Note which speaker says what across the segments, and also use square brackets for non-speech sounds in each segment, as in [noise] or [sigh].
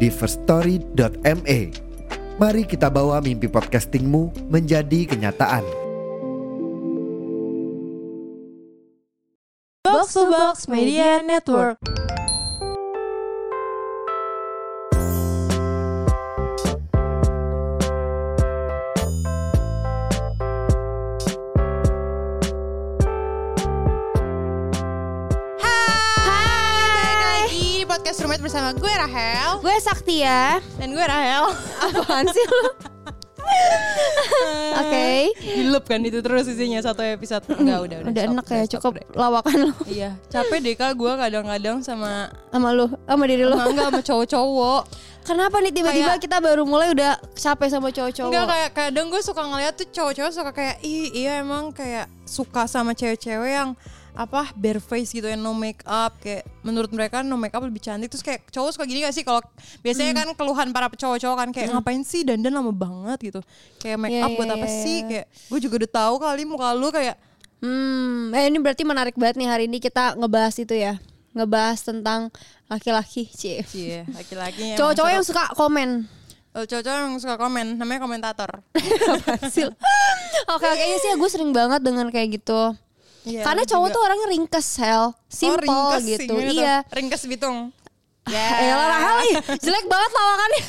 Speaker 1: di firststory.me. Mari kita bawa mimpi podcastingmu menjadi kenyataan.
Speaker 2: Box to Box Media Network.
Speaker 3: Hai, balik lagi podcast roommate bersama gue Rahel
Speaker 2: Gue Sakti ya.
Speaker 3: dan gue [laughs] Rahel.
Speaker 2: Apaan sih lu? Oke. Mm.
Speaker 3: Dilep kan itu terus isinya satu episode. Enggak, udah
Speaker 2: Udah
Speaker 3: stop,
Speaker 2: enak ya
Speaker 3: stop,
Speaker 2: cukup
Speaker 3: udah.
Speaker 2: lawakan lu
Speaker 3: Iya, capek deh kak gue kadang-kadang sama
Speaker 2: sama lu, sama diri lu.
Speaker 3: sama enggak sama cowok-cowok.
Speaker 2: Kenapa nih tiba-tiba
Speaker 3: Kayak-
Speaker 2: kita baru mulai udah capek sama cowok-cowok?
Speaker 3: Enggak kayak kadang gue suka ngeliat tuh cowok-cowok suka kayak ih iya emang kayak suka sama cewek-cewek yang apa bare face gitu yang no make up kayak menurut mereka no make up lebih cantik terus kayak cowok suka gini gak sih kalau biasanya
Speaker 2: Hmm.
Speaker 3: kan keluhan para cowok-cowok kan kayak ngapain sih dandan lama banget gitu kayak make
Speaker 2: Iya,
Speaker 3: up buat
Speaker 2: iya,
Speaker 3: apa
Speaker 2: iya,
Speaker 3: sih
Speaker 2: iya.
Speaker 3: kayak gue juga udah tahu kali muka lu kayak
Speaker 2: Hmm, eh, ini berarti menarik banget nih hari ini kita ngebahas itu ya. Ngebahas tentang laki-laki, Cie.
Speaker 3: iya laki-laki emang
Speaker 2: Cowok-cowok yang
Speaker 3: suka-
Speaker 2: suka komen.
Speaker 3: Eh, cowok-cowok yang suka komen namanya
Speaker 2: [laughs]
Speaker 3: komentator
Speaker 2: Hasil. [laughs] Oke, kayaknya sih gue sering banget dengan kayak gitu.
Speaker 3: Iya,
Speaker 2: Karena
Speaker 3: lu
Speaker 2: cowok
Speaker 3: juga.
Speaker 2: tuh orangnya ringkes, Hel.
Speaker 3: Oh,
Speaker 2: Simple
Speaker 3: ringkes sih,
Speaker 2: gitu.
Speaker 3: gimana tuh?
Speaker 2: Iya.
Speaker 3: ringkes bitung
Speaker 2: Eh lah Rahel ih, jelek banget lawakannya.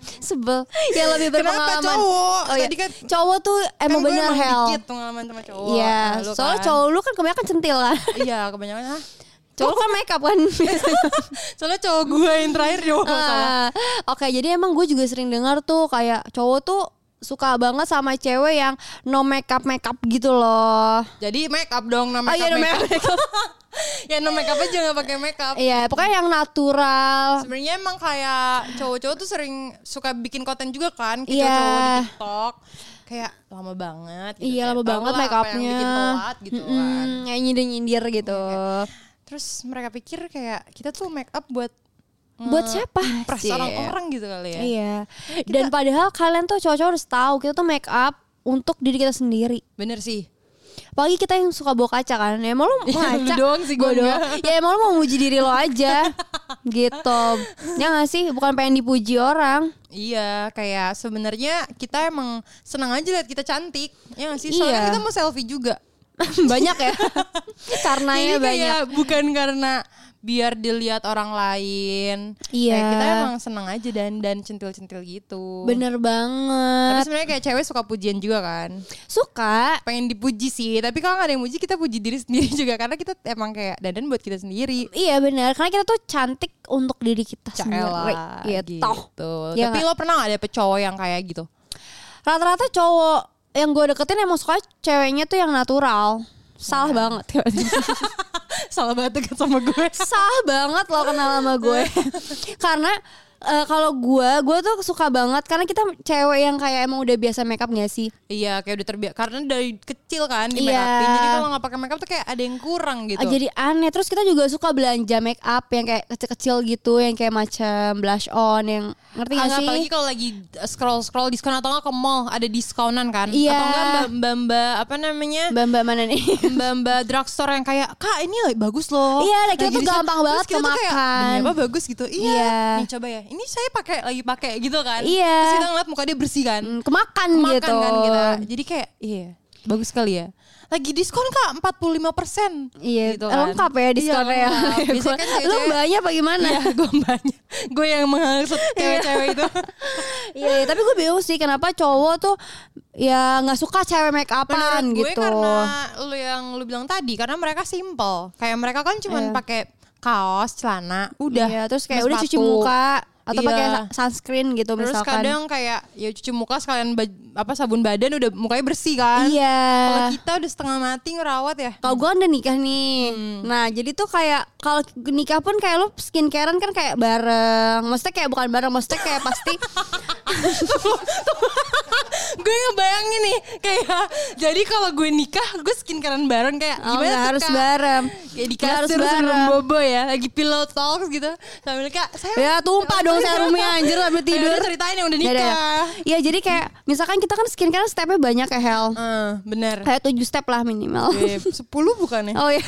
Speaker 2: Sebel. Yang lebih berpengalaman.
Speaker 3: Kenapa cowok?
Speaker 2: Oh, iya.
Speaker 3: Tadi kan-
Speaker 2: cowok tuh
Speaker 3: Kan
Speaker 2: emang
Speaker 3: gue
Speaker 2: bener Hel.
Speaker 3: dikit pengalaman sama cowok.
Speaker 2: Iya,
Speaker 3: Nah, lu
Speaker 2: soalnya
Speaker 3: kan.
Speaker 2: cowok lu kan kebanyakan centil
Speaker 3: [laughs]
Speaker 2: kan.
Speaker 3: Iya, kebanyakan ah. [laughs]
Speaker 2: Cowok lu kan makeup kan.
Speaker 3: Soalnya cowok gue yang terakhir dia oh, salah.
Speaker 2: [laughs] Ah, Oke, jadi emang gue juga sering dengar tuh kayak cowok tuh suka banget sama cewek yang no makeup makeup gitu loh.
Speaker 3: Jadi make up dong nama
Speaker 2: Oh,
Speaker 3: make
Speaker 2: iya,
Speaker 3: up.
Speaker 2: no
Speaker 3: make up. [laughs] ya no make up aja nggak pakai make up.
Speaker 2: Iya, pokoknya yang natural.
Speaker 3: Sebenarnya emang kayak cowok-cowok tuh sering suka bikin konten juga kan, kita
Speaker 2: Iya.
Speaker 3: cowok di TikTok. Kayak lama banget gitu.
Speaker 2: Iya,
Speaker 3: Kayak
Speaker 2: lama
Speaker 3: tau
Speaker 2: banget
Speaker 3: lah
Speaker 2: make
Speaker 3: apa yang
Speaker 2: upnya.
Speaker 3: bikin telat gitu kan. Iya,
Speaker 2: Mm, kayak nyindir-nyindir gitu.
Speaker 3: Terus mereka pikir kayak kita tuh make up buat
Speaker 2: Buat siapa?
Speaker 3: pras
Speaker 2: sih?
Speaker 3: orang-orang gitu kali ya. [laughs]
Speaker 2: Iya. Dan padahal kalian tuh cowok-cowok harus tahu kita tuh make up untuk diri kita sendiri.
Speaker 3: Bener sih.
Speaker 2: Apalagi kita yang suka bawa kaca kan. Ya emang lu
Speaker 3: Iya, [laughs] lu
Speaker 2: ngaca.
Speaker 3: doang sih,
Speaker 2: Gua
Speaker 3: gua
Speaker 2: doang.
Speaker 3: enggak.
Speaker 2: Ya emang lu mau muji diri lo
Speaker 3: [laughs]
Speaker 2: aja. gitu. Ya gak sih? Bukan pengen dipuji orang. [laughs]
Speaker 3: Iya, kayak sebenarnya kita emang senang aja lihat kita cantik. Ya gak sih? Soalnya
Speaker 2: Iya.
Speaker 3: kita mau selfie juga.
Speaker 2: banyak
Speaker 3: [laughs]
Speaker 2: ya. Karenanya
Speaker 3: Jadi
Speaker 2: banyak.
Speaker 3: kayak bukan karena biar dilihat orang lain.
Speaker 2: Iya.
Speaker 3: Kayak kita emang senang aja dan dan centil-centil gitu.
Speaker 2: Bener
Speaker 3: Tapi
Speaker 2: banget.
Speaker 3: sebenarnya kayak cewek suka pujian juga kan.
Speaker 2: Suka.
Speaker 3: Pengen dipuji sih, tapi kalau nggak ada yang muji kita puji diri sendiri [laughs] juga karena kita emang kayak dandan buat kita sendiri.
Speaker 2: Iya benar. Karena kita tuh cantik untuk diri kita sendiri.
Speaker 3: Caela
Speaker 2: Gitu. Iya
Speaker 3: Tapi
Speaker 2: nggak?
Speaker 3: lo pernah gak ada cowok yang kayak gitu?
Speaker 2: rata-rata cowok yang gue deketin emang suka ceweknya tuh yang natural
Speaker 3: Iya.
Speaker 2: salah banget ya.
Speaker 3: Salah banget deket sama gue.
Speaker 2: [laughs] salah banget lo kenal sama
Speaker 3: [laughs]
Speaker 2: gue karena eh, kalau gue gue tuh suka banget karena kita cewek yang kayak emang udah biasa makeup gak sih
Speaker 3: Iya kayak udah terbiasa karena dari kecil kan di
Speaker 2: Iya.
Speaker 3: make upin. Jadi kalau nggak pakai make up tuh kayak ada yang kurang gitu.
Speaker 2: Ah, jadi aneh terus kita juga suka belanja make up yang kayak kecil-kecil gitu yang kayak macam blush on yang ngerti gak
Speaker 3: Ah,
Speaker 2: sih
Speaker 3: apalagi kalau lagi scroll scroll diskon atau nggak ke mall ada diskonan kan?
Speaker 2: Iya.
Speaker 3: Atau nggak mbak mbak mbak apa namanya?
Speaker 2: mbak-mbak mana
Speaker 3: [laughs]
Speaker 2: nih
Speaker 3: Mbak mbak drugstore yang kayak kak ini lagi bagus loh.
Speaker 2: Iya, lagi tuh
Speaker 3: diskon."
Speaker 2: gampang
Speaker 3: Terus
Speaker 2: banget
Speaker 3: kita tuh kayak,
Speaker 2: kemakan.
Speaker 3: "Demi apa bagus gitu? Iya.
Speaker 2: Iya.
Speaker 3: Nih coba ya. Ini saya pakai lagi pakai gitu kan?
Speaker 2: Iya.
Speaker 3: Terus kita ngeliat muka dia bersih kan?
Speaker 2: Hmm, kemakan,
Speaker 3: Makan
Speaker 2: gitu
Speaker 3: kan kita. Jadi kayak iya bagus sekali ya. Lagi diskon kak 45 persen.
Speaker 2: Iya,
Speaker 3: gitu kan.
Speaker 2: lengkap ya diskonnya.
Speaker 3: Iya,
Speaker 2: ya.
Speaker 3: lengkap.
Speaker 2: [laughs]
Speaker 3: Biasanya kan
Speaker 2: Lu
Speaker 3: cewek-cewek-
Speaker 2: mbaknya apa gimana?
Speaker 3: Iya, [laughs] gombanya. Gue yang menghasut cewek-cewek
Speaker 2: [laughs]
Speaker 3: itu.
Speaker 2: Iya, iya, tapi gue bingung sih kenapa cowok tuh ya nggak suka cewek make upan
Speaker 3: gue
Speaker 2: gitu.
Speaker 3: karena lu yang lu bilang tadi, karena mereka simple. Kayak mereka kan cuman
Speaker 2: Iya.
Speaker 3: pakai kaos, celana, udah.
Speaker 2: Iya, terus kayak
Speaker 3: Sama
Speaker 2: udah cuci
Speaker 3: sepatu.
Speaker 2: muka atau
Speaker 3: Iya.
Speaker 2: pakai sa- sunscreen gitu
Speaker 3: Terus
Speaker 2: misalkan.
Speaker 3: kadang kayak ya cuci muka sekalian baj- apa sabun badan udah mukanya bersih kan.
Speaker 2: iya.
Speaker 3: Kalau kita udah setengah mati ngerawat
Speaker 2: [laughs]
Speaker 3: ya.
Speaker 2: Kalau gue kan udah nikah nih,
Speaker 3: Hmm.
Speaker 2: nah jadi tuh kayak kalau nikah pun kayak lo skincarean kan kayak bareng, maksudnya kayak bukan bareng, maksudnya kayak
Speaker 3: [laughs]
Speaker 2: pasti
Speaker 3: gue ngebayangin nih kayak jadi kalau gue nikah gue skincarean bareng kayak
Speaker 2: oh,
Speaker 3: gimana
Speaker 2: nggak
Speaker 3: tuh,
Speaker 2: harus
Speaker 3: Kak?
Speaker 2: bareng,
Speaker 3: Kayak di
Speaker 2: Nggak harus
Speaker 3: kasur sebelum
Speaker 2: bareng.
Speaker 3: bobo ya Lagi pillow talks gitu Sambil kak saya
Speaker 2: Ya tumpah dong serumnya anjir sambil
Speaker 3: Ya
Speaker 2: tidur.
Speaker 3: udah, ceritain yang udah
Speaker 2: Ya udah, ya.
Speaker 3: nikah.
Speaker 2: Iya jadi kayak misalkan kita kan skincare stepnya banyak ya Hel.
Speaker 3: Eh, Bener
Speaker 2: Kayak 7 step lah minimal.
Speaker 3: Eh, 10 bukannya
Speaker 2: Oh iya.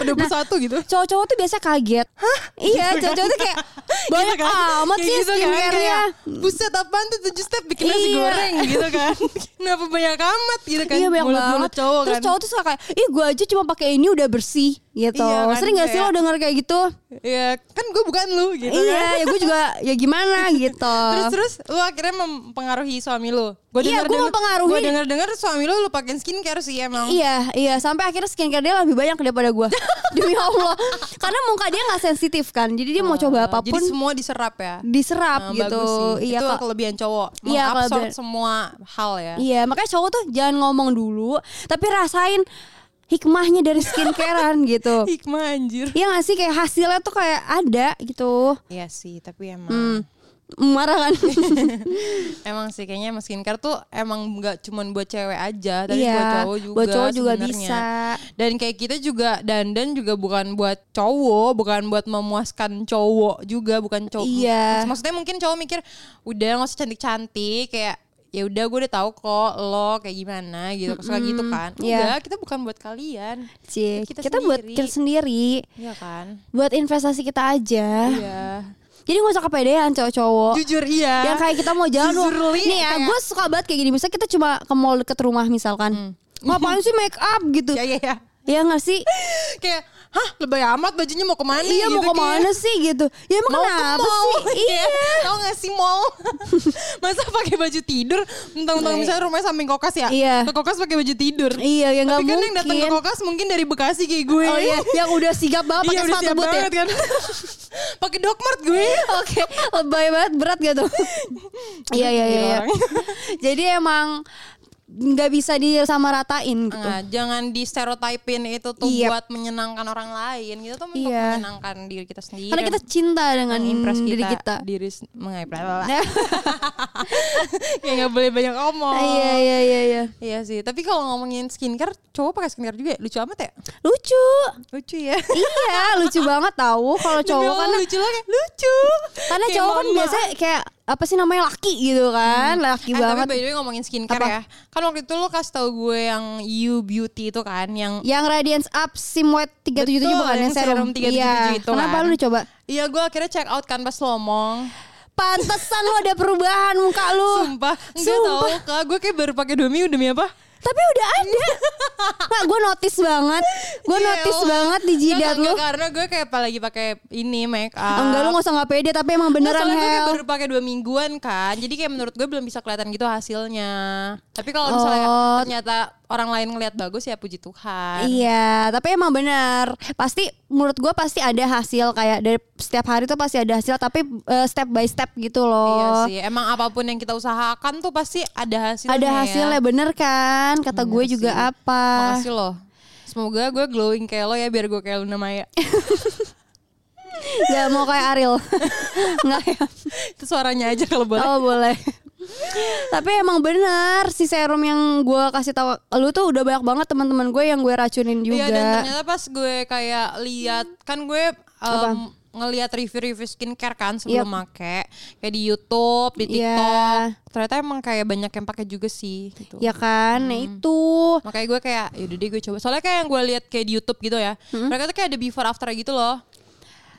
Speaker 3: Udah 21 gitu
Speaker 2: Cowok-cowok tuh biasa kaget. Hah? Iya,
Speaker 3: Gitu kan?
Speaker 2: cowok-cowok tuh
Speaker 3: [laughs]
Speaker 2: kayak banyak
Speaker 3: Gitu kan?
Speaker 2: amat
Speaker 3: Kayak
Speaker 2: sih
Speaker 3: gitu kan,
Speaker 2: skincare-nya.
Speaker 3: kayak, Buset apaan tuh 7 step bikin nasi
Speaker 2: Iya.
Speaker 3: goreng gitu
Speaker 2: [laughs]
Speaker 3: kan Kenapa banyak amat gitu kan
Speaker 2: iya banyak
Speaker 3: Mulut-mulut
Speaker 2: banget.
Speaker 3: cowok
Speaker 2: Terus
Speaker 3: kan
Speaker 2: cowok tuh suka kayak, ih gue aja cuma pakai ini udah bersih gitu.
Speaker 3: Iya kan,
Speaker 2: Sering gak sih lo
Speaker 3: kayak-
Speaker 2: denger kayak gitu?
Speaker 3: Iya kan gue bukan lu gitu
Speaker 2: iya,
Speaker 3: kan
Speaker 2: ya gue juga ya gimana gitu.
Speaker 3: [laughs] Terus terus lu akhirnya mempengaruhi suami lu. Gua denger-
Speaker 2: Iya, gua
Speaker 3: denger-
Speaker 2: mempengaruhi.
Speaker 3: Gua denger-denger suami lu lu pakein skincare sih emang.
Speaker 2: Iya, iya. Sampai akhirnya skincare dia lebih banyak daripada
Speaker 3: [laughs]
Speaker 2: gue. Demi Allah. Karena muka dia nggak sensitif kan. Jadi dia mau coba apapun
Speaker 3: Eh, Ah, Jadi semua diserap ya.
Speaker 2: diserap
Speaker 3: Nah,
Speaker 2: gitu.
Speaker 3: bagus sih.
Speaker 2: Iya
Speaker 3: itu
Speaker 2: kok.
Speaker 3: kelebihan cowok.
Speaker 2: Iya,
Speaker 3: Mengabsorb
Speaker 2: kelebihan.
Speaker 3: semua hal ya.
Speaker 2: Iya, makanya cowok tuh jangan ngomong dulu, tapi rasain hikmahnya dari
Speaker 3: [laughs]
Speaker 2: skincarean gitu.
Speaker 3: Hikmah anjir.
Speaker 2: Iya gak sih kayak hasilnya tuh kayak ada gitu.
Speaker 3: Iya sih, tapi emang
Speaker 2: Hmm. Marah kan?
Speaker 3: emang sih kayaknya emang skincare tuh emang nggak cuman buat cewek aja, tapi
Speaker 2: [laughs]
Speaker 3: buat
Speaker 2: Iya,
Speaker 3: cowok juga.
Speaker 2: buat cowok juga
Speaker 3: sebenarnya.
Speaker 2: bisa.
Speaker 3: Dan kayak kita juga dandan juga bukan buat cowok, bukan buat memuaskan cowok juga, bukan cowok.
Speaker 2: Iya.
Speaker 3: Maksudnya mungkin cowok mikir udah nggak usah cantik-cantik kayak ya udah gue udah tahu kok lo kayak gimana gitu suka gitu kan
Speaker 2: iya.
Speaker 3: enggak kita bukan buat kalian
Speaker 2: Cie,
Speaker 3: Kita
Speaker 2: kita, buat
Speaker 3: sendiri.
Speaker 2: kita sendiri,
Speaker 3: iya kan
Speaker 2: buat investasi kita aja.
Speaker 3: iya
Speaker 2: Jadi gak usah kepedean cowok-cowok.
Speaker 3: jujur iya
Speaker 2: Oh. Yang kayak kita mau jalan
Speaker 3: Jujur, iya. Li,
Speaker 2: Nih ya,
Speaker 3: kayak-
Speaker 2: gue suka banget kayak gini. Misalnya kita cuma ke mall deket rumah
Speaker 3: Hmm.
Speaker 2: misalkan. Ngapain sih make up
Speaker 3: [laughs]
Speaker 2: gitu?
Speaker 3: ya ya ya
Speaker 2: Ya gak sih?
Speaker 3: kayak hah lebay amat bajunya mau kemana
Speaker 2: Iya mau
Speaker 3: gitu,
Speaker 2: kemana
Speaker 3: kayak.
Speaker 2: sih gitu? Ya emang
Speaker 3: mau
Speaker 2: kenapa
Speaker 3: ke [laughs] mall Iya.
Speaker 2: sih? Iya.
Speaker 3: Kayak, tau gak sih
Speaker 2: [laughs]
Speaker 3: mall masa pakai baju tidur mentang-mentang
Speaker 2: Iya.
Speaker 3: misalnya rumahnya samping kokas ya
Speaker 2: Iya.
Speaker 3: ke kokas pakai baju tidur
Speaker 2: Iya, ya nggak
Speaker 3: tapi kan yang datang ke
Speaker 2: mungkin.
Speaker 3: kokas mungkin dari bekasi kayak gue
Speaker 2: Oh iya, yang udah sigap banget
Speaker 3: Iya,
Speaker 2: pakai
Speaker 3: udah
Speaker 2: sepatu
Speaker 3: siap
Speaker 2: boot ya. Iya.
Speaker 3: banget kan [laughs] pakai dokmart gue
Speaker 2: [laughs] Oke, lebay banget berat gak
Speaker 3: [laughs]
Speaker 2: tuh? Iya iya iya. iya.
Speaker 3: Gila orang.
Speaker 2: [laughs] Jadi emang nggak bisa disamaratain gitu.
Speaker 3: Nah, jangan di stereotipin itu tuh
Speaker 2: Iya.
Speaker 3: buat menyenangkan orang lain gitu tuh untuk
Speaker 2: Iya.
Speaker 3: menyenangkan diri kita sendiri
Speaker 2: Karena kita cinta dengan
Speaker 3: mengimpress iya. kita,
Speaker 2: diri kita. [laughs]
Speaker 3: diri s- mengimpress
Speaker 2: Nah,
Speaker 3: [laughs] kayak nggak boleh banyak omong
Speaker 2: Iya iya iya iya.
Speaker 3: Iya sih, tapi kalau ngomongin skincare, cowok pakai skincare juga ya? Lucu amat ya?
Speaker 2: Lucu.
Speaker 3: Lucu [laughs] ya.
Speaker 2: iya, lucu banget tahu kalau
Speaker 3: Demi
Speaker 2: cowok
Speaker 3: Allah,
Speaker 2: karena
Speaker 3: Iya, lucu banget. Lucu.
Speaker 2: karena
Speaker 3: Kayak
Speaker 2: cowok kan
Speaker 3: mama.
Speaker 2: biasanya kayak apa sih namanya laki gitu kan, laki
Speaker 3: Eh,
Speaker 2: banget.
Speaker 3: tapi by the way ngomongin skincare
Speaker 2: Apa?
Speaker 3: ya. Kan waktu itu lo kasih tau gue yang You Beauty itu kan, yang
Speaker 2: Yang Radiance Up Simwet 377
Speaker 3: Betul,
Speaker 2: bukan
Speaker 3: yang
Speaker 2: yang serum.
Speaker 3: serum 377
Speaker 2: Iya.
Speaker 3: itu
Speaker 2: Kenapa
Speaker 3: kan.
Speaker 2: lu dicoba?
Speaker 3: Iya gue akhirnya check out kan pas lo ngomong
Speaker 2: Pantesan lu ada perubahan muka lu.
Speaker 3: Sumpah Enggak tau
Speaker 2: Oh,
Speaker 3: kak
Speaker 2: Sumpah.
Speaker 3: Gue kayak baru pakai demi Demi apa?
Speaker 2: Tapi udah
Speaker 3: [laughs]
Speaker 2: ada. Nah, gue notice banget. Gue
Speaker 3: Ya
Speaker 2: notice
Speaker 3: Allah.
Speaker 2: banget di jidat
Speaker 3: Enggak,
Speaker 2: lu.
Speaker 3: enggak, Karena gue kayak apa lagi pakai ini make up
Speaker 2: Enggak lu gak usah gak pede tapi emang
Speaker 3: Enggak,
Speaker 2: beneran
Speaker 3: soalnya gue kayak
Speaker 2: hell.
Speaker 3: baru pakai dua mingguan kan jadi kayak menurut gue belum bisa kelihatan gitu hasilnya tapi kalau misalnya
Speaker 2: Oh.
Speaker 3: ternyata orang lain ngelihat bagus ya puji Tuhan
Speaker 2: Iya, tapi emang benar. Pasti menurut gue pasti ada hasil kayak dari setiap hari tuh pasti ada hasil tapi eh, step by step gitu
Speaker 3: Iya
Speaker 2: loh.
Speaker 3: sih emang apapun yang kita usahakan tuh pasti ada hasilnya
Speaker 2: ada
Speaker 3: ya.
Speaker 2: hasilnya bener kan? Kata gue juga
Speaker 3: sih.
Speaker 2: apa?
Speaker 3: makasih loh semoga gue glowing kayak lo ya biar gue kayak Luna Maya [laughs]
Speaker 2: Gak mau kayak Ariel. Enggak ya.
Speaker 3: itu suaranya aja kalau boleh
Speaker 2: Oh
Speaker 3: [laughs]
Speaker 2: boleh. Tapi emang benar si serum yang gue kasih tahu lu tuh udah banyak banget teman-teman gue yang gue racunin
Speaker 3: Iya
Speaker 2: juga.
Speaker 3: dan ternyata pas gue kayak lihat kan gue um,
Speaker 2: Apa?
Speaker 3: ngelihat review-review skincare kan sebelum
Speaker 2: Yap.
Speaker 3: make kayak di YouTube, di
Speaker 2: Iya.
Speaker 3: TikTok. Ternyata emang kayak banyak yang pakai juga sih gitu.
Speaker 2: Ya kan, nah itu.
Speaker 3: Makanya gue kayak yaudah deh gue coba. Soalnya kayak yang gue lihat kayak di YouTube gitu ya. Mereka tuh kayak ada before after gitu loh.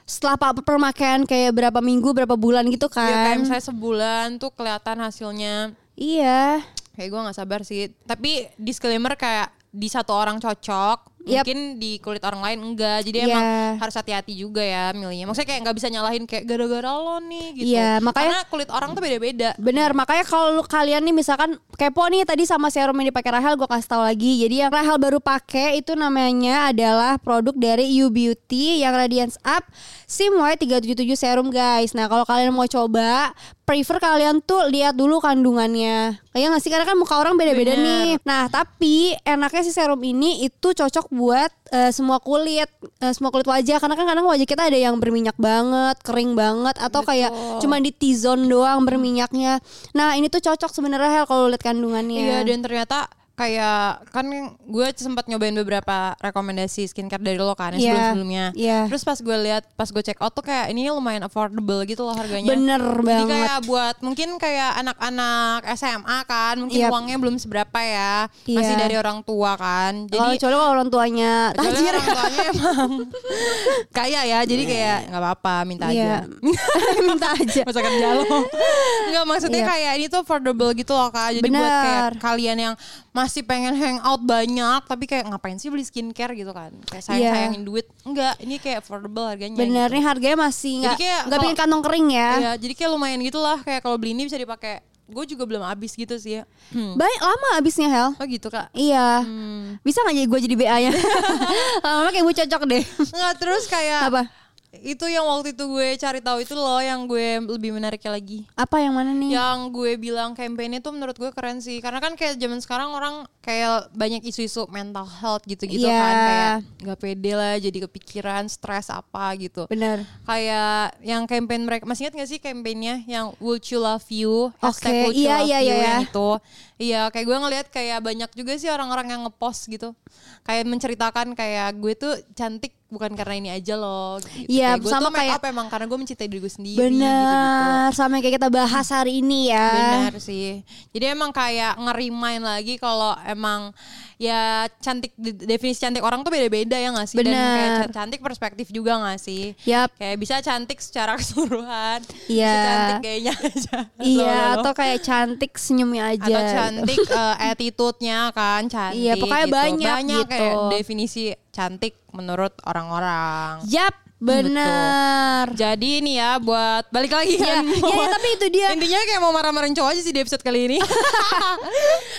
Speaker 2: Setelah pa- permakaian kayak berapa minggu, berapa bulan gitu
Speaker 3: Ya kayak
Speaker 2: kan?
Speaker 3: misalnya sebulan tuh kelihatan hasilnya.
Speaker 2: Iya.
Speaker 3: Kayak gue nggak sabar sih. Tapi disclaimer kayak di satu orang cocok,
Speaker 2: Yap.
Speaker 3: mungkin di kulit orang lain enggak jadi
Speaker 2: Iya.
Speaker 3: emang harus hati-hati juga ya milihnya maksudnya kayak nggak bisa nyalahin kayak gara-gara lo nih gitu
Speaker 2: Iya,
Speaker 3: karena
Speaker 2: makanya-
Speaker 3: kulit orang tuh beda-beda
Speaker 2: Bener, makanya kalau lu- kalian nih misalkan kepo nih tadi sama serum yang dipakai Rahel gue kasih tahu lagi. Jadi yang Rahel baru pakai itu namanya adalah produk dari You Beauty yang Radiance Up SIMY 377 serum guys. Nah, kalau kalian mau coba, prefer kalian tuh lihat dulu kandungannya. Kayak nggak sih karena kan muka orang beda-beda
Speaker 3: Bener.
Speaker 2: nih. Nah, tapi enaknya si serum ini itu cocok buat eh, semua kulit, eh, semua kulit wajah karena kan kadang wajah kita ada yang berminyak banget, kering banget atau kayak cuma di T-zone doang berminyaknya. Nah, ini tuh cocok sebenarnya Hel kalau lihat kandungannya.
Speaker 3: Iya dan ternyata kayak kan gue sempat nyobain beberapa rekomendasi skincare dari lo kan yang
Speaker 2: Iya,
Speaker 3: sebelum-sebelumnya.
Speaker 2: iya.
Speaker 3: Terus pas gue lihat pas gue check out tuh kayak ini lumayan affordable gitu loh harganya.
Speaker 2: Bener
Speaker 3: Jadi
Speaker 2: banget.
Speaker 3: kayak buat mungkin kayak anak-anak SMA kan mungkin
Speaker 2: Yap.
Speaker 3: uangnya belum seberapa ya. Masih
Speaker 2: Iya. Oh,
Speaker 3: dari orang tua kan.
Speaker 2: kalau
Speaker 3: Jadi
Speaker 2: kecuali kalau orang tuanya
Speaker 3: kecuali
Speaker 2: tajir.
Speaker 3: orang tuanya
Speaker 2: [laughs]
Speaker 3: emang kaya ya. Jadi kayak nggak apa-apa minta [laughs]
Speaker 2: Iya.
Speaker 3: aja.
Speaker 2: Minta aja.
Speaker 3: Masa kerja lo Enggak maksudnya
Speaker 2: Iya.
Speaker 3: kayak ini tuh affordable gitu loh kak Jadi buat kayak
Speaker 2: Benar.
Speaker 3: kalian yang masih pengen hangout banyak Tapi kayak ngapain sih beli skincare gitu kan Kayak sayang-sayangin
Speaker 2: Iya.
Speaker 3: duit Enggak ini kayak affordable harganya
Speaker 2: [laughs] Bener
Speaker 3: gitu.
Speaker 2: nih harganya masih nggak
Speaker 3: kayak
Speaker 2: nggak
Speaker 3: kalau-
Speaker 2: bikin kantong kering ya.
Speaker 3: Iya, Jadi kayak lumayan gitu lah Kayak kalau beli ini bisa dipakai Gue juga belum habis gitu sih ya hmm.
Speaker 2: Baik lama habisnya Hel.
Speaker 3: Oh gitu kak
Speaker 2: Iya.
Speaker 3: Hmm.
Speaker 2: Bisa nggak jadi gue jadi BA-nya? [laughs] Lama-lama kayak gue cocok deh.
Speaker 3: Enggak terus kayak
Speaker 2: Apa?
Speaker 3: Itu yang waktu itu gue cari tahu itu loh Yang gue lebih menariknya lagi
Speaker 2: Apa yang mana nih?
Speaker 3: yang gue bilang campaign itu menurut gue keren sih karena kan kayak zaman sekarang orang kayak banyak isu-isu mental health gitu-gitu
Speaker 2: Iya.
Speaker 3: kan kayak nggak pede lah jadi kepikiran stres apa gitu
Speaker 2: Bener.
Speaker 3: kayak yang campaign mereka masih ingat gak sih campaignnya yang would you love you hashtag
Speaker 2: Oke,
Speaker 3: would you
Speaker 2: iya,
Speaker 3: love
Speaker 2: iya,
Speaker 3: you
Speaker 2: iya,
Speaker 3: yang
Speaker 2: iya.
Speaker 3: itu iya kayak gue ngelihat kayak banyak juga sih orang-orang yang ngepost gitu kayak menceritakan kayak gue tuh cantik bukan karena ini aja loh gitu. Kayak
Speaker 2: Iya,
Speaker 3: gue
Speaker 2: sama
Speaker 3: tuh make
Speaker 2: kayak-
Speaker 3: up emang karena gue mencintai diri gue sendiri gitu-gitu.
Speaker 2: Bener. Sama yang kayak kita bahas hari ini ya.
Speaker 3: Benar sih. Jadi emang kayak ngerimain lagi kalau emang ya cantik de- definisi cantik orang tuh beda-beda ya nggak sih? Dan
Speaker 2: Benar.
Speaker 3: kayak ca- cantik perspektif juga nggak sih?
Speaker 2: Yap.
Speaker 3: Kayak bisa cantik secara [laughs] keseluruhan.
Speaker 2: Iya.
Speaker 3: Bisa cantik kayaknya [laughs] aja.
Speaker 2: Iya,
Speaker 3: Loh, loh, loh.
Speaker 2: atau kayak cantik senyumnya aja.
Speaker 3: Atau
Speaker 2: gitu. [laughs]
Speaker 3: cantik eh, attitude-nya kan cantik.
Speaker 2: Iya, pokoknya
Speaker 3: gitu.
Speaker 2: banyak gitu. Iya.
Speaker 3: kayak definisi cantik menurut orang-orang.
Speaker 2: Yap, bener.
Speaker 3: Jadi ini ya buat balik lagi
Speaker 2: Iya,
Speaker 3: kan.
Speaker 2: iya, iya, tapi itu dia.
Speaker 3: Intinya kayak mau marah-marahin cowok aja sih di episode kali
Speaker 2: [laughs]
Speaker 3: ini.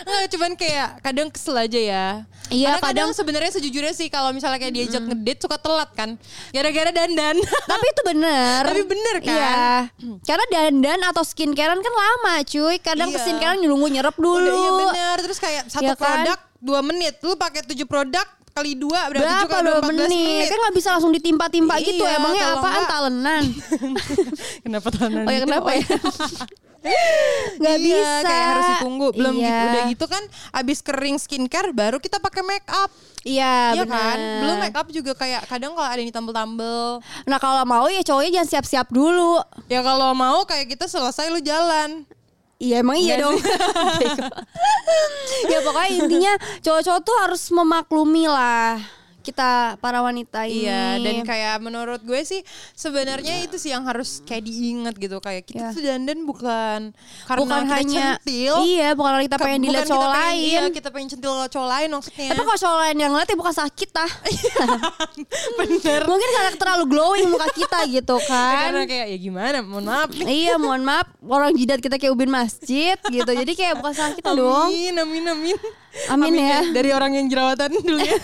Speaker 3: Nggak, cuman kayak kadang kesel aja ya.
Speaker 2: Iya,
Speaker 3: Karena kadang, sebenarnya sejujurnya sih kalau misalnya kayak diajak ngedate suka telat kan. Gara-gara dandan. [laughs]
Speaker 2: Tapi itu bener.
Speaker 3: Tapi bener kan?
Speaker 2: Iya. Karena dandan atau skincarean kan lama, cuy. Kadang
Speaker 3: Iya.
Speaker 2: skincarean nunggu nyerep dulu.
Speaker 3: Udah iya bener. Terus kayak satu
Speaker 2: Iya kan?
Speaker 3: produk dua menit. Lu pakai tujuh produk kali dua berarti
Speaker 2: Berapa
Speaker 3: juga
Speaker 2: dua
Speaker 3: 14
Speaker 2: menit? Kan nggak bisa langsung ditimpa-timpa gitu.
Speaker 3: Iya,
Speaker 2: Emangnya
Speaker 3: kalau
Speaker 2: apaan
Speaker 3: nggak-
Speaker 2: talenan?
Speaker 3: [laughs] Kenapa tahanan
Speaker 2: Oh ya
Speaker 3: gitu?
Speaker 2: kenapa ya? Gak
Speaker 3: Iya,
Speaker 2: bisa.
Speaker 3: kayak harus dikunggu. Belum
Speaker 2: Iya.
Speaker 3: gitu, udah gitu kan abis kering skincare baru kita pakai make up.
Speaker 2: Iya,
Speaker 3: Iya
Speaker 2: bener.
Speaker 3: kan? Belum make up juga kayak kadang kalau ada yang ditambel-tambel.
Speaker 2: Nah kalau mau ya cowoknya jangan siap-siap dulu.
Speaker 3: Ya kalau mau kayak kita selesai lu jalan.
Speaker 2: Iya emang
Speaker 3: Nggak
Speaker 2: iya dong. [laughs] ya pokoknya intinya cowok-cowok tuh harus memaklumi lah kita para wanita ini.
Speaker 3: Iya, dan kayak menurut gue sih sebenarnya itu sih yang harus kayak diingat gitu kayak kita
Speaker 2: Iya.
Speaker 3: tuh dandan bukan karena
Speaker 2: bukan
Speaker 3: kita
Speaker 2: hanya
Speaker 3: centil.
Speaker 2: iya bukan karena kita
Speaker 3: ke-
Speaker 2: pengen dilihat
Speaker 3: bukan kita
Speaker 2: cowok
Speaker 3: pengen-
Speaker 2: lain.
Speaker 3: Iya, kita pengen centil ke cowok lain maksudnya. [laughs]
Speaker 2: Tapi kalau cowok lain yang ngeliat ya bukan salah kita.
Speaker 3: Iya. bener.
Speaker 2: [laughs] Mungkin karena terlalu glowing muka kita
Speaker 3: [laughs]
Speaker 2: gitu
Speaker 3: Karena
Speaker 2: kan.
Speaker 3: kayak ya gimana? Mohon maaf nih.
Speaker 2: iya mohon maaf orang jidat kita kayak ubin masjid gitu. Jadi kayak bukan salah kita dong.
Speaker 3: Amin, amin, amin.
Speaker 2: Amin ya.
Speaker 3: Dari orang yang jerawatan dulu
Speaker 2: [laughs]
Speaker 3: ya.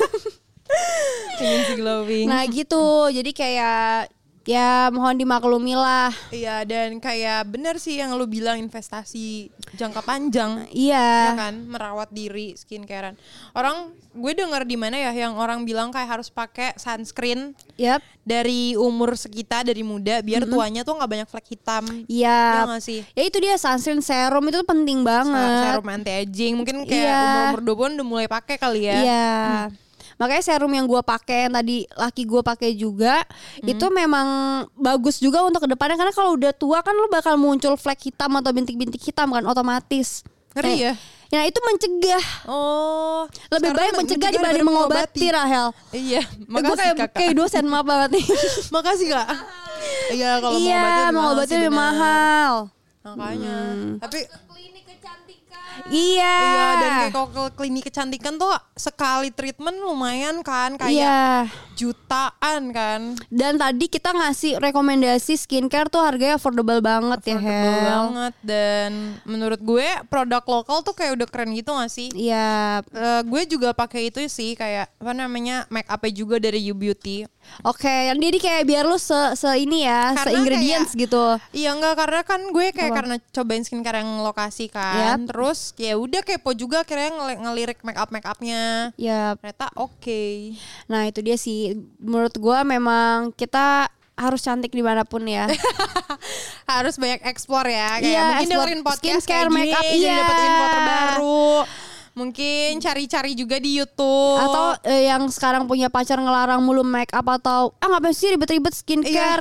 Speaker 3: Pengen si glowing.
Speaker 2: Nah gitu. Jadi kayak ya mohon dimaklumi lah.
Speaker 3: Iya dan kayak bener sih yang lu bilang investasi jangka panjang ya
Speaker 2: Iya.
Speaker 3: kan merawat diri skincarean. Orang gue denger di mana ya yang orang bilang kayak harus pakai sunscreen
Speaker 2: Yap.
Speaker 3: dari umur sekitar dari muda biar tuanya tuh nggak banyak flek hitam. Ya
Speaker 2: Iya.
Speaker 3: nggak sih?
Speaker 2: Ya itu dia sunscreen serum itu tuh penting banget.
Speaker 3: Serum ya? anti aging mungkin kayak
Speaker 2: Iya.
Speaker 3: umur umur 20 udah mulai pakai kali ya.
Speaker 2: Iya. Makanya serum yang gua pakai yang tadi laki gua pakai juga
Speaker 3: Hmm.
Speaker 2: itu memang bagus juga untuk kedepannya karena kalau udah tua kan lu bakal muncul flek hitam atau bintik-bintik hitam kan otomatis.
Speaker 3: Ngeri ya?
Speaker 2: Ya itu mencegah.
Speaker 3: Oh,
Speaker 2: Lebih
Speaker 3: sekarang
Speaker 2: baik
Speaker 3: men-
Speaker 2: mencegah dibanding mengobati, Rahel.
Speaker 3: Iya,
Speaker 2: Eh, gua
Speaker 3: makasih
Speaker 2: kayak
Speaker 3: kakak.
Speaker 2: kayak dosen maaf banget nih.
Speaker 3: Makasih kak. Iya kalau
Speaker 2: iya,
Speaker 3: mengobati Hmm.
Speaker 2: mengobati
Speaker 3: sih,
Speaker 2: lebih
Speaker 3: benar.
Speaker 2: mahal.
Speaker 3: Makanya. Tapi
Speaker 4: klinik kecantikan
Speaker 2: Iya.
Speaker 3: Iya dan kayak kalau ke klinik kecantikan tuh sekali treatment lumayan kan kayak
Speaker 2: Iya.
Speaker 3: jutaan kan.
Speaker 2: Dan tadi kita ngasih rekomendasi skincare tuh harganya affordable banget ya
Speaker 3: Affordable
Speaker 2: Hel.
Speaker 3: banget dan menurut gue produk lokal tuh kayak udah keren gitu gak sih?
Speaker 2: Iya.
Speaker 3: Eh, gue juga pakai itu sih kayak apa namanya make up juga dari You Beauty.
Speaker 2: Oke, jadi kayak biar lu se, se ini ya, se
Speaker 3: Karena
Speaker 2: ingredients
Speaker 3: kayak-
Speaker 2: gitu.
Speaker 3: Iya enggak karena kan gue kayak
Speaker 2: Apa?
Speaker 3: karena cobain skincare yang lokasi kan.
Speaker 2: Yap.
Speaker 3: Terus ya udah kepo juga akhirnya ngel- ngelirik make up make upnya.
Speaker 2: Ya,
Speaker 3: Ternyata oke.
Speaker 2: [laughs] nah itu dia sih. Menurut gua memang kita harus cantik dimanapun ya.
Speaker 3: [laughs] harus banyak eksplor ya kayak
Speaker 2: Iya,
Speaker 3: mungkin
Speaker 2: explore
Speaker 3: dengerin podcast
Speaker 2: skincare,
Speaker 3: kayak gini
Speaker 2: makeup,
Speaker 3: jadi
Speaker 2: iya.
Speaker 3: dapat info terbaru mungkin cari-cari juga di YouTube
Speaker 2: Atau eh, yang sekarang punya pacar ngelarang mulu make up atau ah ngapain sih ribet-ribet skincare?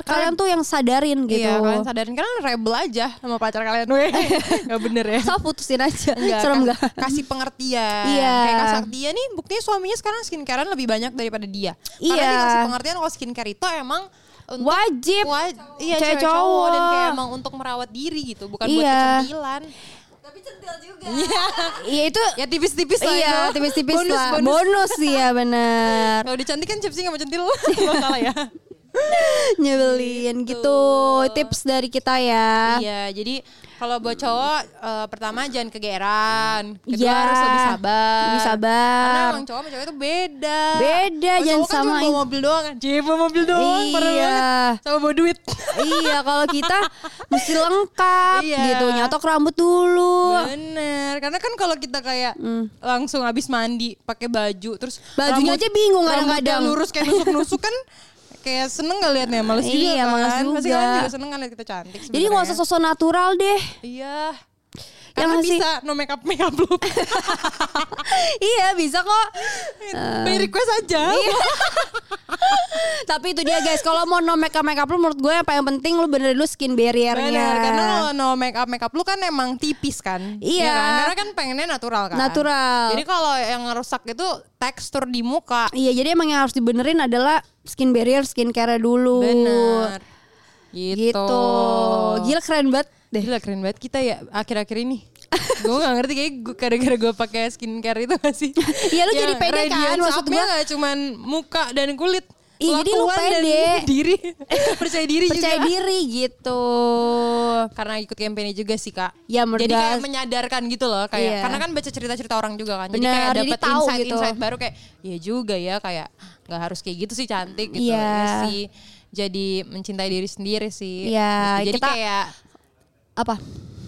Speaker 3: Iya,
Speaker 2: kalian
Speaker 3: kalian-
Speaker 2: tuh yang sadarin gitu.
Speaker 3: iya kalian sadarin kalian rebel aja sama pacar kalian weh
Speaker 2: [laughs]
Speaker 3: nggak bener ya
Speaker 2: So putusin aja.
Speaker 3: Nggak,
Speaker 2: Serem
Speaker 3: kas-
Speaker 2: [laughs] gak?
Speaker 3: kasih pengertian
Speaker 2: kan? Iya.
Speaker 3: kayak Kak Saktia nih buktinya suaminya sekarang skincarean lebih banyak daripada dia
Speaker 2: Iya.
Speaker 3: karena dikasih pengertian kalau skincare itu emang untuk
Speaker 2: Wajib.
Speaker 3: wa- iya cewek
Speaker 2: Cewek
Speaker 3: cowok dan kayak
Speaker 2: cowok.
Speaker 3: emang untuk merawat diri gitu bukan buat
Speaker 2: Iya.
Speaker 3: kecantilan [laughs] iya
Speaker 2: Iya itu
Speaker 3: ya tipis-tipis lah
Speaker 2: iya
Speaker 3: itu.
Speaker 2: tipis-tipis
Speaker 3: bonus,
Speaker 2: lah.
Speaker 3: bonus.
Speaker 2: Bonus iya
Speaker 3: [laughs]
Speaker 2: benar.
Speaker 3: Kalau dicantik kan chipsnya gak mau centil [laughs] Kalau salah ya Gitu.
Speaker 2: Nyebelin gitu. Tips dari kita ya.
Speaker 3: Iya jadi kalau buat cowok eh, Pertama jangan kegeeran Kedua
Speaker 2: Iya.
Speaker 3: harus lebih sabar
Speaker 2: Lebih sabar.
Speaker 3: Karena emang cowok sama cewek itu beda
Speaker 2: Beda,
Speaker 3: Kalau
Speaker 2: jangan
Speaker 3: cowok kan cuma
Speaker 2: samain.
Speaker 3: bawa mobil doang kan Cuma bawa mobil doang parah
Speaker 2: Iya.
Speaker 3: banget. Sama bawa
Speaker 2: [laughs]
Speaker 3: duit
Speaker 2: iya kalau kita mesti lengkap
Speaker 3: Iya.
Speaker 2: gitu nyotok rambut dulu
Speaker 3: Bener Karena kan kalau kita kayak Langsung abis mandi pakai baju Terus
Speaker 2: Hmm. Bajunya
Speaker 3: rambut-
Speaker 2: aja bingung
Speaker 3: rambutnya
Speaker 2: kadang-kadang.
Speaker 3: lurus kayak nusuk-nusuk kan Kayak seneng gak liatnya Males juga
Speaker 2: Iya,
Speaker 3: kan
Speaker 2: males
Speaker 3: Pasti
Speaker 2: juga.
Speaker 3: kalian juga seneng kan liat kita cantik
Speaker 2: jadi nggak
Speaker 3: sebenarnya.
Speaker 2: usah Ya sosok natural
Speaker 3: [laughs]
Speaker 2: deh
Speaker 3: Iya.
Speaker 2: Yang
Speaker 3: Karena
Speaker 2: masih-
Speaker 3: bisa no make up make up look. [laughs]
Speaker 2: iya bisa kok Eh,
Speaker 3: By request aja.
Speaker 2: iya.
Speaker 3: [laughs]
Speaker 2: tapi itu dia guys kalau mau no makeup makeup lu menurut gue yang paling penting lu benerin dulu skin barriernya
Speaker 3: Bener, karena kalau no make up make up lu kan emang tipis kan.
Speaker 2: Iya.
Speaker 3: kan? Karena kan pengennya natural kan.
Speaker 2: Natural.
Speaker 3: Jadi kalau yang rusak itu tekstur di muka.
Speaker 2: iya jadi emang yang harus dibenerin adalah skin barrier skincare dulu
Speaker 3: Bener. Gitu.
Speaker 2: gitu. gila keren banget [laughs] deh
Speaker 3: Gila keren banget kita ya akhir-akhir ini. [laughs] gue gak ngerti kayak gua- gara-gara gue pakai skincare itu gak sih.
Speaker 2: [laughs] Iya, lu
Speaker 3: Yang
Speaker 2: jadi pede kan,
Speaker 3: radiance
Speaker 2: maksud
Speaker 3: up-nya
Speaker 2: gua.
Speaker 3: gak cuman muka dan kulit.
Speaker 2: Iya, jadi lu
Speaker 3: Lakuan dan
Speaker 2: pede.
Speaker 3: [laughs]
Speaker 2: [laughs]
Speaker 3: diri. Percaya diri
Speaker 2: percaya
Speaker 3: juga.
Speaker 2: diri gitu
Speaker 3: karena ikut kampanye juga sih kak.
Speaker 2: Ya, menurut
Speaker 3: jadi kayak
Speaker 2: gue-
Speaker 3: menyadarkan gitu loh kayak
Speaker 2: Iya.
Speaker 3: karena kan baca cerita-cerita orang juga kan.
Speaker 2: Benar,
Speaker 3: jadi kayak
Speaker 2: jadi
Speaker 3: dapat
Speaker 2: tahu
Speaker 3: insight-insight
Speaker 2: gitu.
Speaker 3: baru kayak ya juga ya kayak nggak harus kayak gitu sih cantik gitu
Speaker 2: Iya.
Speaker 3: Iya sih. Jadi mencintai diri sendiri sih.
Speaker 2: Iya,
Speaker 3: Gitu. Jadi
Speaker 2: kita-
Speaker 3: kayak
Speaker 2: apa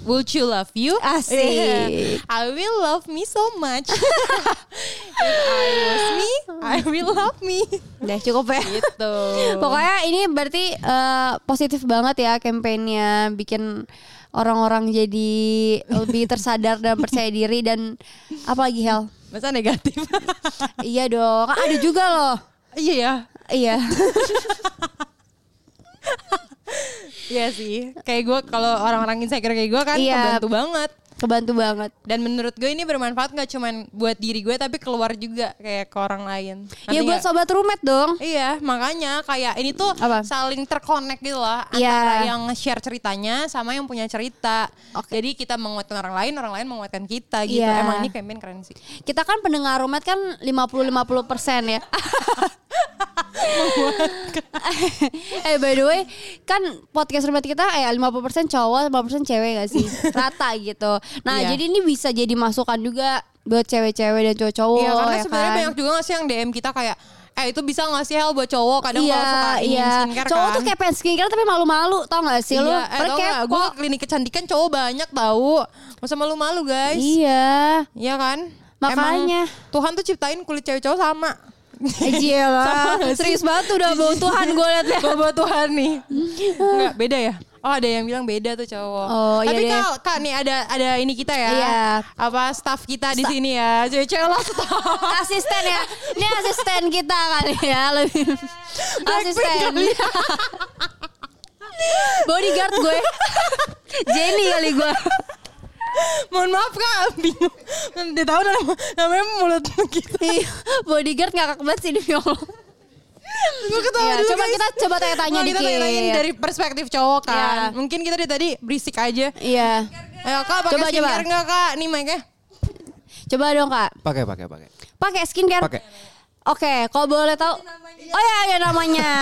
Speaker 3: Will you love you?
Speaker 2: Asik.
Speaker 3: Iya. [laughs] I will love me so much. [laughs] If I was me, I will love me. [laughs]
Speaker 2: udah cukup ya
Speaker 3: Gitu.
Speaker 2: [laughs] Pokoknya ini berarti eh, positif banget ya kampanyenya bikin orang-orang jadi lebih tersadar dan percaya diri dan apalagi Hel.
Speaker 3: Masa negatif? [laughs]
Speaker 2: Iya dong, kan ada juga loh.
Speaker 3: iya ya.
Speaker 2: Iya. [laughs]
Speaker 3: Iya sih. Kayak gue kalau orang-orang insecure kayak gue kan
Speaker 2: Iya.
Speaker 3: kebantu banget.
Speaker 2: Kebantu banget.
Speaker 3: Dan menurut gue ini bermanfaat nggak cuman buat diri gue tapi keluar juga kayak ke orang lain.
Speaker 2: ya
Speaker 3: Ngerti
Speaker 2: buat
Speaker 3: nggak?
Speaker 2: sobat rumet dong.
Speaker 3: Iya, makanya kayak ini tuh
Speaker 2: Apa?
Speaker 3: saling terkonek gitu loh antara
Speaker 2: Iya.
Speaker 3: yang share ceritanya sama yang punya cerita.
Speaker 2: Oke.
Speaker 3: Jadi kita menguatkan orang lain, orang lain menguatkan kita gitu.
Speaker 2: Iya.
Speaker 3: Emang ini campaign keren sih.
Speaker 2: Kita kan pendengar rumet kan 50-50% ya. eh by the way kan podcast rumah kita eh 50% cowok 50% cewek gak
Speaker 3: [laughs]
Speaker 2: sih rata gitu nah
Speaker 3: Iya.
Speaker 2: jadi ini bisa jadi masukan juga buat cewek-cewek dan cowok-cowok
Speaker 3: iya, karena
Speaker 2: ya
Speaker 3: sebenarnya
Speaker 2: kan?
Speaker 3: banyak juga nggak sih yang DM kita kayak eh itu bisa nggak sih hal buat cowok kadang
Speaker 2: iya,
Speaker 3: kalau suka ingin
Speaker 2: iya.
Speaker 3: skincare
Speaker 2: cowok
Speaker 3: kan.
Speaker 2: tuh kayak pengen skincare tapi malu-malu tau gak sih lu?
Speaker 3: Iya, eh,
Speaker 2: Padahal
Speaker 3: tau gak,
Speaker 2: kepo.
Speaker 3: gue ke klinik kecantikan cowok banyak tahu. Gak usah malu-malu guys. Iya [laughs]
Speaker 2: Iya.
Speaker 3: kan?
Speaker 2: Makanya.
Speaker 3: Emang Tuhan tuh ciptain kulit cewek cowok sama.
Speaker 2: Eh, Gila, serius banget
Speaker 3: [laughs]
Speaker 2: tuh udah [laughs] bau Tuhan ya. gue liatnya.
Speaker 3: Gua bawa Tuhan nih.
Speaker 2: [laughs]
Speaker 3: Enggak, beda ya? Oh ada yang bilang beda tuh cowok.
Speaker 2: Oh, iya
Speaker 3: Tapi
Speaker 2: deh.
Speaker 3: kak, kak nih ada ada ini kita ya.
Speaker 2: Iya.
Speaker 3: Apa staff kita di sini ya. Cewek-cewek lah staff.
Speaker 2: [laughs] asisten ya, ini asisten kita kali ya lebih. asisten.
Speaker 3: kali
Speaker 2: [laughs] Bodyguard gue, Jenny kali gue.
Speaker 3: Mohon maaf kak, bingung. Dia tahu nama, namanya mulut kita.
Speaker 2: Iya, bodyguard ngakak banget sih demi Allah.
Speaker 3: Gue ketawa
Speaker 2: Iya,
Speaker 3: dulu
Speaker 2: coba
Speaker 3: guys.
Speaker 2: kita coba tanya-tanya
Speaker 3: Mau kita
Speaker 2: dikit.
Speaker 3: tanyain dari perspektif cowok kan.
Speaker 2: Iya.
Speaker 3: Mungkin kita dari tadi berisik aja.
Speaker 2: Iya.
Speaker 3: Skincare Ayo kak pakai
Speaker 2: Coba, coba.
Speaker 3: skincare nggak kak? Nih mic-nya.
Speaker 2: Coba dong kak.
Speaker 1: Pakai pakai pakai.
Speaker 2: Pakai skincare.
Speaker 1: Pakai.
Speaker 2: Oke, kalau boleh tahu. Oh ya, ya namanya.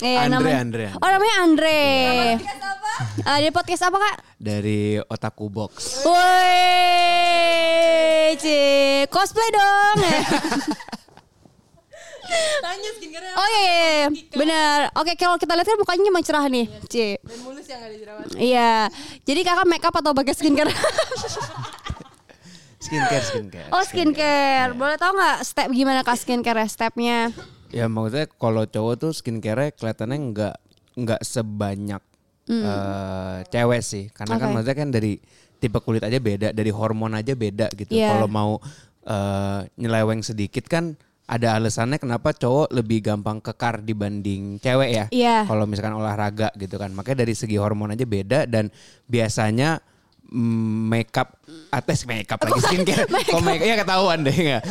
Speaker 2: Iya,
Speaker 4: Andre,
Speaker 2: namanya.
Speaker 4: Andre, Andre.
Speaker 2: Oh namanya Andre. Eh, Di podcast apa kak?
Speaker 4: Dari Otaku Box.
Speaker 2: Woi, cie cosplay dong.
Speaker 3: Tanya skincare
Speaker 2: oh iya, iya, iya. benar. Oke, kalau kita lihat kan mukanya emang cerah nih, cie.
Speaker 3: Dan mulus yang nggak dijerawat.
Speaker 2: Iya. Jadi kakak make up atau pakai
Speaker 3: [laughs]
Speaker 2: skincare?
Speaker 4: Skincare, skincare.
Speaker 2: oh skincare. Boleh tahu nggak step gimana kak skincare stepnya?
Speaker 4: Ya maksudnya kalau cowok tuh skincare kelihatannya nggak nggak sebanyak eh, cewek sih, karena kan
Speaker 2: Hmm. Oke.
Speaker 4: maksudnya kan dari tipe kulit aja beda, dari hormon aja beda gitu.
Speaker 2: Iya.
Speaker 4: Kalau mau eh, nyeleweng sedikit kan ada alasannya kenapa cowok lebih gampang kekar dibanding cewek ya.
Speaker 2: Iya.
Speaker 4: Kalau misalkan olahraga gitu kan, makanya dari segi hormon aja beda dan biasanya mm, makeup atas makeup
Speaker 2: [laughs]
Speaker 4: lagi skincare, kok makeup ya ketahuan deh nggak?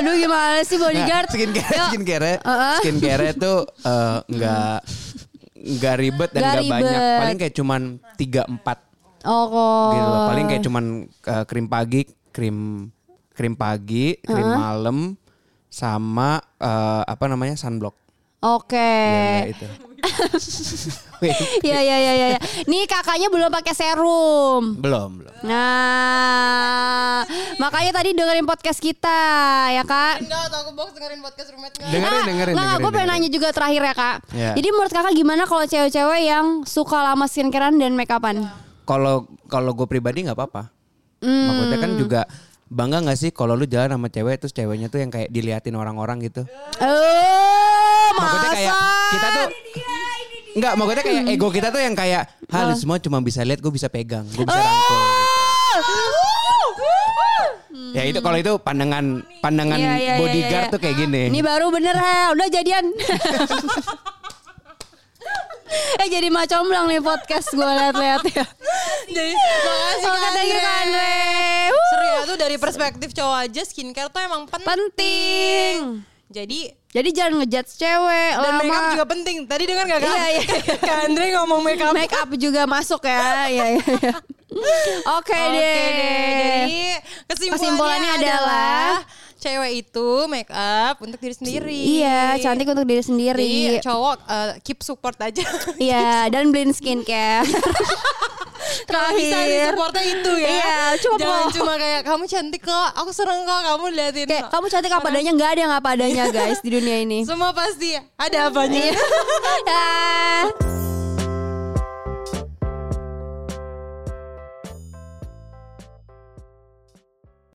Speaker 2: Aduh gimana sih bodyguard?
Speaker 4: Nah, skincare,
Speaker 2: Yuk.
Speaker 4: skincare,
Speaker 2: Uh-uh.
Speaker 4: skincare itu eh, nggak nggak ribet dan
Speaker 2: Nggak
Speaker 4: nggak banyak.
Speaker 2: ribet.
Speaker 4: Paling kayak cuman 3 4
Speaker 2: Oh, kok.
Speaker 4: gitu loh. Paling
Speaker 2: Oh.
Speaker 4: kayak cuman eh, krim pagi, krim krim pagi, krim malam sama eh, apa namanya? sunblock.
Speaker 2: Oke. Eh.
Speaker 4: Ya, itu. [laughs] Wait,
Speaker 2: Iya iya iya iya. Nih kakaknya belum pakai serum.
Speaker 4: belum, belum.
Speaker 2: Nah, makanya tadi dengerin podcast kita ya kak.
Speaker 3: Enggak, atau aku box dengerin podcast roommate nggak?
Speaker 4: Dengerin,
Speaker 2: Ah,
Speaker 4: dengerin,
Speaker 2: Nah,
Speaker 4: dengerin.
Speaker 2: gue pengen
Speaker 4: dengerin.
Speaker 2: nanya juga terakhir ya kak.
Speaker 4: Iya.
Speaker 2: Jadi menurut kakak gimana kalau cewek-cewek yang suka lama skincarean dan make upan?
Speaker 3: Ya.
Speaker 4: kalau kalau gue pribadi nggak apa-apa. Maksudnya
Speaker 2: Hmm.
Speaker 4: kan juga bangga nggak sih kalau lu jalan sama cewek terus ceweknya tuh yang kayak diliatin orang-orang gitu.
Speaker 2: Oh,
Speaker 4: Maksudnya
Speaker 2: masa?
Speaker 4: kayak kita tuh Enggak, maksudnya kayak
Speaker 2: Hmm.
Speaker 4: ego kita tuh yang kayak
Speaker 2: Oh.
Speaker 4: halus semua cuma bisa lihat gue bisa pegang, gue bisa rangkul. Ya itu kalau itu pandangan pandangan
Speaker 2: Oh. Iya, iya, iya,
Speaker 4: bodyguard
Speaker 2: iya.
Speaker 4: tuh kayak gini.
Speaker 2: Ini baru bener ha, udah jadian. [laughs] eh jadi macam bilang nih podcast gue liat-liat ya.
Speaker 3: Jadi makasih Kak
Speaker 2: Oke, Oh, thank you,
Speaker 3: Andre.
Speaker 2: Kak Andre. Wuh.
Speaker 3: Seru ya tuh dari perspektif cowok aja skincare tuh emang penting.
Speaker 2: Penting.
Speaker 3: Jadi
Speaker 2: Jadi jangan ngejudge cewek
Speaker 3: dan
Speaker 2: lama.
Speaker 3: makeup juga penting. Tadi dengar gak kak?
Speaker 2: Oh, Iya, iya.
Speaker 3: [laughs] Kak Andre ngomong makeup.
Speaker 2: Make up juga masuk ya. [laughs] Iya iya. iya. Oke deh.
Speaker 3: Jadi kesimpulannya,
Speaker 2: Kesimpulannya adalah,
Speaker 3: adalah, cewek itu make up untuk diri sendiri.
Speaker 2: Iya, cantik untuk diri sendiri.
Speaker 3: Jadi cowok eh, keep support aja. [laughs]
Speaker 2: Iya, dan beliin skincare. Iya.
Speaker 3: Kalau bisa di
Speaker 2: Terakhir.
Speaker 3: supportnya itu ya.
Speaker 2: Iya, cukup
Speaker 3: Jangan
Speaker 2: loh.
Speaker 3: cuma kayak kamu cantik kok, aku seneng kok kamu liatin.
Speaker 2: Kayak kamu cantik apa adanya, nggak
Speaker 3: Iya. [laughs]
Speaker 2: ada yang apa adanya guys di dunia ini.
Speaker 3: Semua pasti ada apanya.
Speaker 2: Iya. Dah.